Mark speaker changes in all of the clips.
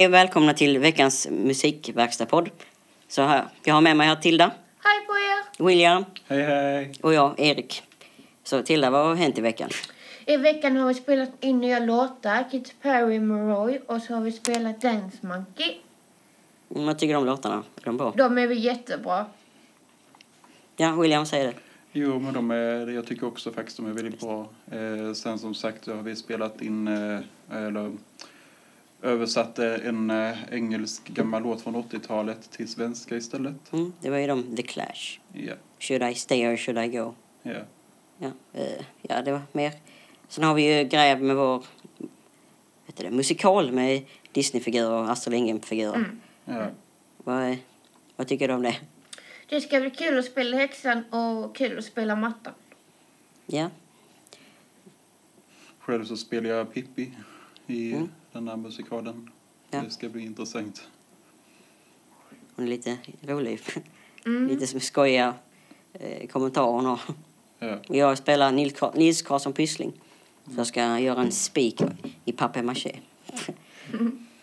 Speaker 1: Hej och välkomna till veckans musikverkstadpodd. Så här, jag har med mig här Tilda,
Speaker 2: Hej på er!
Speaker 1: William
Speaker 3: Hej hej!
Speaker 1: och jag, Erik. Så Tilda, vad har hänt i veckan?
Speaker 2: I veckan har vi spelat in nya låtar, Katy Perry, Moroi och så har vi spelat Dance Monkey.
Speaker 1: Mm, Vad tycker du om låtarna? Är de bra?
Speaker 2: De är väl jättebra.
Speaker 1: Ja, William säger det.
Speaker 3: Jo, men de är, jag tycker också faktiskt de är väldigt bra. Eh, sen som sagt så har vi spelat in, eh, eller översatt eh, en eh, engelsk gammal låt från 80-talet till svenska istället.
Speaker 1: Mm, det var ju de, The Clash.
Speaker 3: Ja,
Speaker 1: Should I stay or should I go?
Speaker 3: ja.
Speaker 1: Ja, eh, ja det var mer. Sen har vi ju gräv med vår vet du det, musikal med Disney-figurer och Astrid Lindgren-figurer.
Speaker 2: Mm.
Speaker 3: ja.
Speaker 1: Vad, eh, vad tycker du om det?
Speaker 2: Det ska bli kul att spela häxan och kul att spela mattan.
Speaker 1: Ja,
Speaker 3: Själv så spelar jag Pippi i
Speaker 1: Mm.
Speaker 3: den här musikalen.
Speaker 1: Ja.
Speaker 3: Det ska bli intressant.
Speaker 1: hon är lite rolig.
Speaker 2: Mm.
Speaker 1: lite som skojiga eh, kommentarer hon har.
Speaker 3: Ja,
Speaker 1: Och Jag spelar Nils Car- Nils Karlsson Pyssling. Så jag ska göra en spik i papier-maché.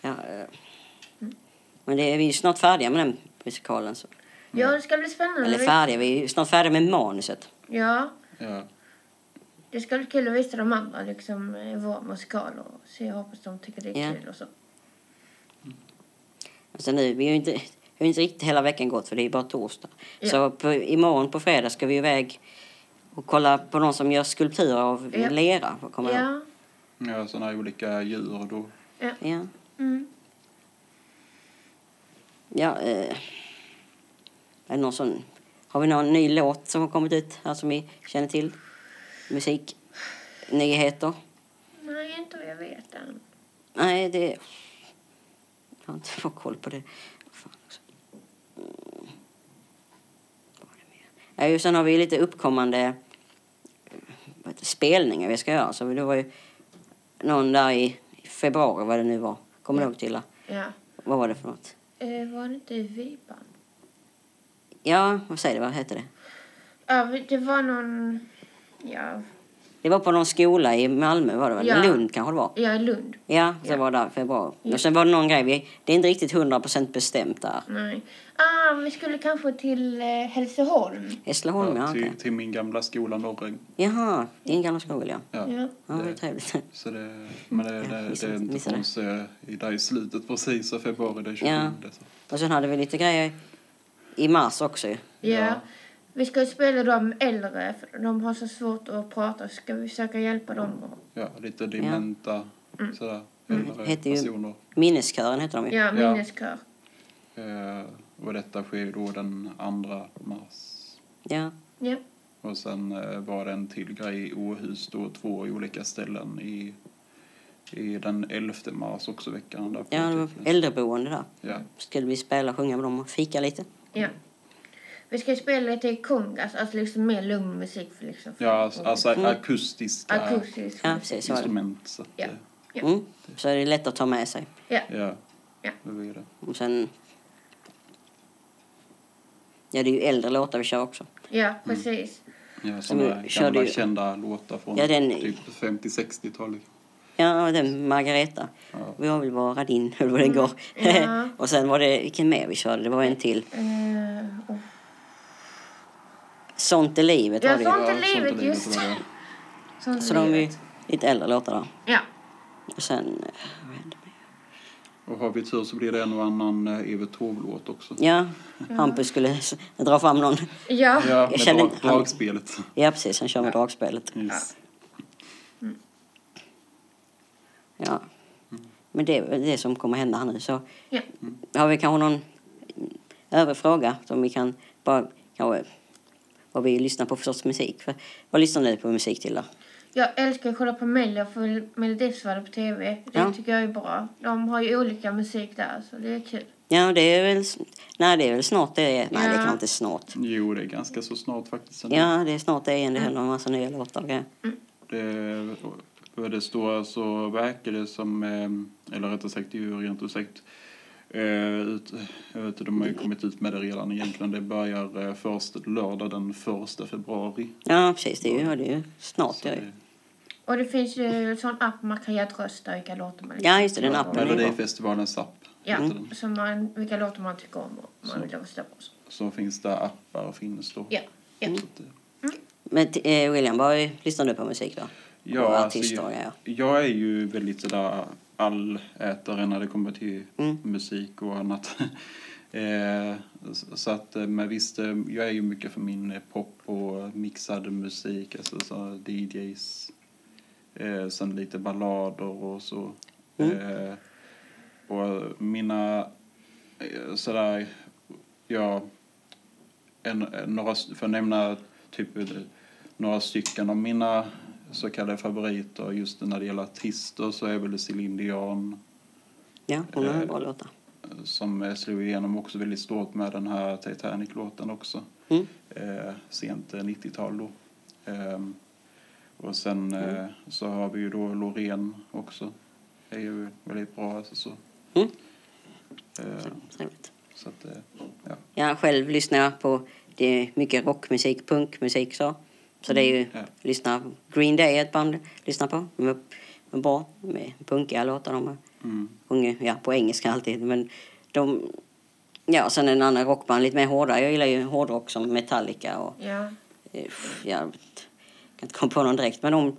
Speaker 1: ja, eh. Men det är vi är snart färdiga med den musikalen. Så.
Speaker 2: Ja, det ska bli spännande.
Speaker 1: Eller
Speaker 2: Vi-
Speaker 1: färdiga, vi är snart färdiga med manuset.
Speaker 2: Ja,
Speaker 3: ja.
Speaker 2: det ska bli kul att visa de andra liksom eh, vår musikal och se, jag hoppas de tycker det är
Speaker 1: Ja.
Speaker 2: kul och så.
Speaker 1: Alltså nu, vi har ju inte, vi har ju inte riktigt hela veckan gått för det är bara torsdag.
Speaker 2: Ja.
Speaker 1: Så på, imorgon på fredag ska vi iväg och kolla på någon som gör skulpturer av
Speaker 2: Ja.
Speaker 1: lera. Kommer jag ihåg.
Speaker 2: Ja.
Speaker 3: ja sådana här olika djur och då.
Speaker 1: Ja.
Speaker 2: Mm.
Speaker 1: Ja, eh, är det någon sån, har vi någon ny låt som har kommit ut här som vi känner till? Musik, nyheter?
Speaker 2: Nej, inte vad jag vet än.
Speaker 1: Nej, det... Jag har inte fått koll på det. Vad Fan också. Mm. Vad var det mer? Nej, och sen har vi lite uppkommande eh, vad heter det, spelningar vi ska göra. Så det var ju någon där i i februari, vad det nu var. Kommer du ihåg till?
Speaker 2: Ja.
Speaker 1: Vad var det för något?
Speaker 2: Eh, var det inte i Viban?
Speaker 1: Ja, vad säger du? Vad heter det?
Speaker 2: Ja, vi- det var någon... Ja,
Speaker 1: Det var på någon skola i Malmö var det väl?
Speaker 2: Ja.
Speaker 1: Lund kanske det var?
Speaker 2: ja i Lund.
Speaker 1: Ja, det
Speaker 2: Ja.
Speaker 1: var där i februari.
Speaker 2: Ja.
Speaker 1: Och sen var det någon grej, vi, det är inte riktigt 100% bestämt där.
Speaker 2: Nej. Ah, vi skulle kanske till eh, Hälsingholm.
Speaker 1: Hässleholm, ja. typ. okej.
Speaker 3: till, till min gamla skola Norräng.
Speaker 1: Jaha, din gamla skola ja.
Speaker 3: Ja.
Speaker 2: Ja.
Speaker 1: Ja, det är
Speaker 3: Det-
Speaker 1: trevligt.
Speaker 3: Så det, men det, det, det
Speaker 1: missade-
Speaker 3: är inte
Speaker 1: missade.
Speaker 3: förrän så i där i slutet precis av februari, det är 27.
Speaker 1: Ja.
Speaker 3: Så.
Speaker 1: Och sen hade vi lite grejer i mars också ju.
Speaker 2: Ja.
Speaker 3: Ja.
Speaker 2: Vi ska ju spela de äldre, för de har så svårt att prata. Så ska vi försöka hjälpa dem? Och,
Speaker 3: Ja, lite dementa sådär. Äldre
Speaker 1: Mm, Heter ju-
Speaker 3: personer.
Speaker 1: Minneskören heter de ju.
Speaker 2: ja, minneskör.
Speaker 3: Eh, och detta sker ju då den 2 mars.
Speaker 1: Ja.
Speaker 2: Ja.
Speaker 3: Och sen eh, var det en till grej i Åhus då, två olika ställen i, i den 11 mars också veckan där. på
Speaker 1: ja, det var
Speaker 3: Tekniska.
Speaker 1: äldreboende där.
Speaker 3: Ja,
Speaker 1: Skulle vi spela, sjunga med dem och fika lite.
Speaker 2: ja. Vi ska ju spela lite i kongas, alltså liksom mer lugn musik. För liksom, för
Speaker 3: ja alltså, alltså
Speaker 1: Mm.
Speaker 3: akustiska
Speaker 2: akustisk.
Speaker 1: Ja, precis. Så var det.
Speaker 3: instrument. Så att,
Speaker 2: Ja.
Speaker 3: eh,
Speaker 2: Ja.
Speaker 1: Mm. Så är det lätt att ta med sig.
Speaker 2: Ja.
Speaker 3: ja.
Speaker 2: Ja.
Speaker 3: Det var ju det.
Speaker 1: Och sen... Ja, det är ju äldre låtar vi kör också.
Speaker 2: ja, precis.
Speaker 3: Ja,
Speaker 1: Som
Speaker 3: sådana
Speaker 1: körde
Speaker 3: gamla
Speaker 1: ju-
Speaker 3: kända låtar från
Speaker 1: Ja, den-
Speaker 3: typ 50-60-talet.
Speaker 1: Ja, den Margareta.
Speaker 3: Ja.
Speaker 1: Vi har väl vara din, eller vad den går.
Speaker 2: Mm. Ja.
Speaker 1: och sen var det, vilken mer vi körde? Det var en till.
Speaker 2: Eh, och-
Speaker 1: Sånt är livet
Speaker 2: Ja,
Speaker 1: var det ju.
Speaker 2: sånt- Sånt är livet,
Speaker 3: sånt är
Speaker 2: just
Speaker 3: var det.
Speaker 2: sånt
Speaker 1: Så de är ju
Speaker 2: livet.
Speaker 1: lite äldre låtar där.
Speaker 2: Ja.
Speaker 1: Och sen, eh, vad hände mer?
Speaker 3: Och har vi tur så blir det en och annan eh, Evert Taube-låt också.
Speaker 1: ja,
Speaker 2: Mm.
Speaker 1: Hampus skulle s- dra fram någon.
Speaker 2: Ja. ja.
Speaker 3: Ja,
Speaker 1: Jag
Speaker 3: med
Speaker 1: känner
Speaker 3: drag,
Speaker 1: inte- han-
Speaker 3: dragspelet.
Speaker 1: Ja, precis, han kör med dragspelet.
Speaker 3: Yes.
Speaker 1: Ja. Men det är väl det som kommer hända här nu. Så
Speaker 2: Ja.
Speaker 1: har vi kanske någon övrig fråga som vi kan bara, kanske, vad vi lyssnar på för sorts musik. För, vad lyssnar ni på musik till då?
Speaker 2: Jag älskar att kolla på Mello för Melodifestivalen på tv. Det
Speaker 1: Ja.
Speaker 2: tycker jag är bra. De har ju olika musik där så det är kul.
Speaker 1: Ja, det är väl, s- nej, det är väl snart det är. Nej, det
Speaker 2: Ja.
Speaker 1: kan inte snart.
Speaker 3: Jo, det är ganska så snart faktiskt. ändå.
Speaker 1: Ja, det är snart det igen. Det händer en massa nya låtar och grejer.
Speaker 3: Det, för det stora så verkar det som, eh, eller rättare sagt, det är ju rent ut sagt, eh, ut, jag vet inte, de har ju kommit ut med det redan egentligen. Det börjar eh, först lördag den första februari.
Speaker 1: Ja, precis. Det är ju, ja, det är ju snart.
Speaker 3: Så
Speaker 1: Ja,
Speaker 3: det-
Speaker 2: Och det finns ju en sån app man kan göra rösta vilka låtar man
Speaker 1: ja just det. Den appen. är ju bra.
Speaker 3: Melodifestivalens app.
Speaker 2: Ja,
Speaker 3: heter
Speaker 1: Mm.
Speaker 3: den.
Speaker 2: så man, vilka låtar man tycker om och
Speaker 3: Så.
Speaker 2: man vill rösta på. Så.
Speaker 3: Så finns det appar och finns då.
Speaker 2: Ja, ja.
Speaker 1: Mm.
Speaker 3: Så att, eh,
Speaker 1: Men t- eh, William, vad lyssnar du på musik då?
Speaker 3: Ja,
Speaker 1: och
Speaker 3: alltså,
Speaker 1: artister, ja.
Speaker 3: Jag är ju väldigt sådär allätare när det kommer till
Speaker 1: Mm.
Speaker 3: musik och annat. eh, så- så att, eh, men visst, eh, jag är ju mycket för min eh, pop och mixad musik, alltså så DJs, eh, sen lite ballader och så. Eh, och mina, eh, sådär, ja, en, en- några, för att nämna typ eh, några stycken av mina så kallade favoriter just när det gäller artister så är väl Céline Dion
Speaker 1: Ja, hon har
Speaker 3: Eh,
Speaker 1: bra låtar.
Speaker 3: eh, som eh, slog igenom också väldigt stort med den här Titanic-låten också.
Speaker 1: Mm.
Speaker 3: Eh, sent eh, 90-tal då. Ehm, och sen
Speaker 1: Mm.
Speaker 3: eh, så har vi ju då Loreen också. Det är ju väldigt bra alltså så.
Speaker 1: Mm.
Speaker 3: Eh,
Speaker 1: Trevligt.
Speaker 3: så att, eh, ja.
Speaker 1: Ja, själv lyssnar jag på det är mycket rockmusik, punkmusik så. Så det är ju,
Speaker 3: Mm. Ja.
Speaker 1: lyssna, Green Day är ett band jag lyssnar på. De är, de är bra, de är punkiga låtar de har.
Speaker 3: Mm.
Speaker 1: sjunger, ja på engelska alltid, men de... Ja, sen en annan rockband, lite mer hårda. Jag gillar ju hårdrock som Metallica och...
Speaker 2: ja.
Speaker 1: eh, Jag kan inte komma på någon direkt, men de...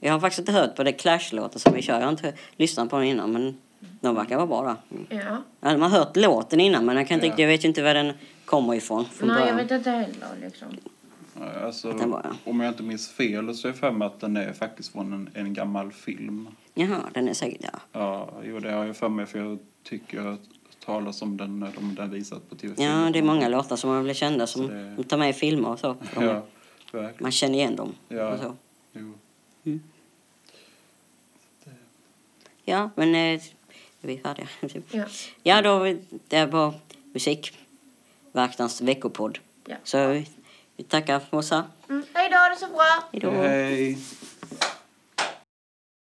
Speaker 1: Jag har faktiskt inte hört på det Clash-låten som vi kör. Jag har inte lyssnat på den innan, men de verkar vara bra där. Mm.
Speaker 2: ja.
Speaker 1: Ja, man har hört låten innan, men jag, kan inte
Speaker 3: Ja.
Speaker 1: riktigt, jag vet ju inte var den kommer ifrån från
Speaker 2: Nej, jag
Speaker 1: början.
Speaker 2: vet inte heller liksom.
Speaker 3: Ja, Alltså,
Speaker 1: Att den bara-
Speaker 3: Om jag inte minns fel så är jag för mig att den är faktiskt från en, en gammal film.
Speaker 1: Jaha, den är säkert... Ja.
Speaker 3: Ja, jo, det har jag för mig för jag tycker jag talas om den när de den visat på tv
Speaker 1: ja, det är många låtar som har blivit kända som
Speaker 3: Så det-
Speaker 1: de tar med i filmer och så. De-
Speaker 3: Ja, verkligen.
Speaker 1: Man känner igen dem.
Speaker 3: Ja.
Speaker 1: Och så.
Speaker 3: Jo.
Speaker 1: Ja, men eh, vi är färdiga.
Speaker 2: Ja.
Speaker 1: Ja, då, det var Musikverkstans veckopodd.
Speaker 2: Ja.
Speaker 1: Så vi- vi tackar för oss. här.
Speaker 2: Mm. Hej då, ha det så bra!
Speaker 1: Hej då.
Speaker 3: Hej!